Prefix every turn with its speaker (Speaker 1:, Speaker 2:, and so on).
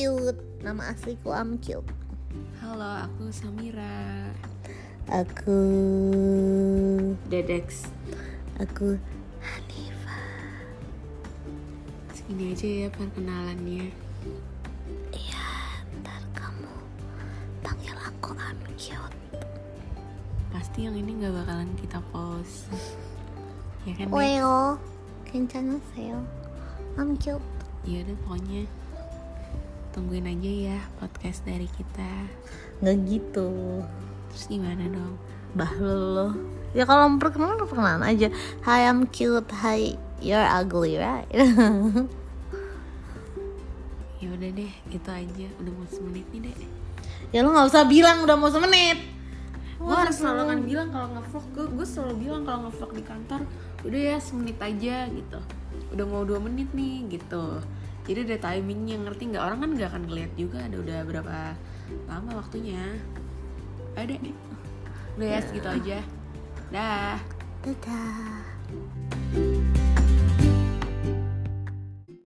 Speaker 1: Oh. Nama asliku Amcu.
Speaker 2: Halo, aku Samira.
Speaker 1: Aku
Speaker 2: Dedex.
Speaker 1: aku Hanifa.
Speaker 2: Segini aja ya perkenalannya.
Speaker 1: Iya, ntar kamu panggil aku Amcu.
Speaker 2: Pasti yang ini nggak bakalan kita post. Ya kan? Nek?
Speaker 1: Weo, kencana saya. Amcu.
Speaker 2: Ya udah pokoknya tungguin aja ya podcast dari kita.
Speaker 1: Nggak gitu.
Speaker 2: Terus gimana dong?
Speaker 1: Bah lo. Ya kalau mau perkenalan perkenalan aja. Hi I'm cute. Hi you're ugly right?
Speaker 2: Ya udah deh, itu aja. Udah mau semenit nih, Dek.
Speaker 1: ya lo nggak usah bilang udah mau semenit.
Speaker 2: gue harus selalu kan bilang kalau ngevlog gue gue selalu bilang kalau ngevlog di kantor udah ya semenit aja gitu udah mau dua menit nih gitu jadi ada timingnya ngerti nggak orang kan nggak akan ngeliat juga ada udah berapa lama waktunya ada nih udah ya segitu aja dah
Speaker 1: Dadah.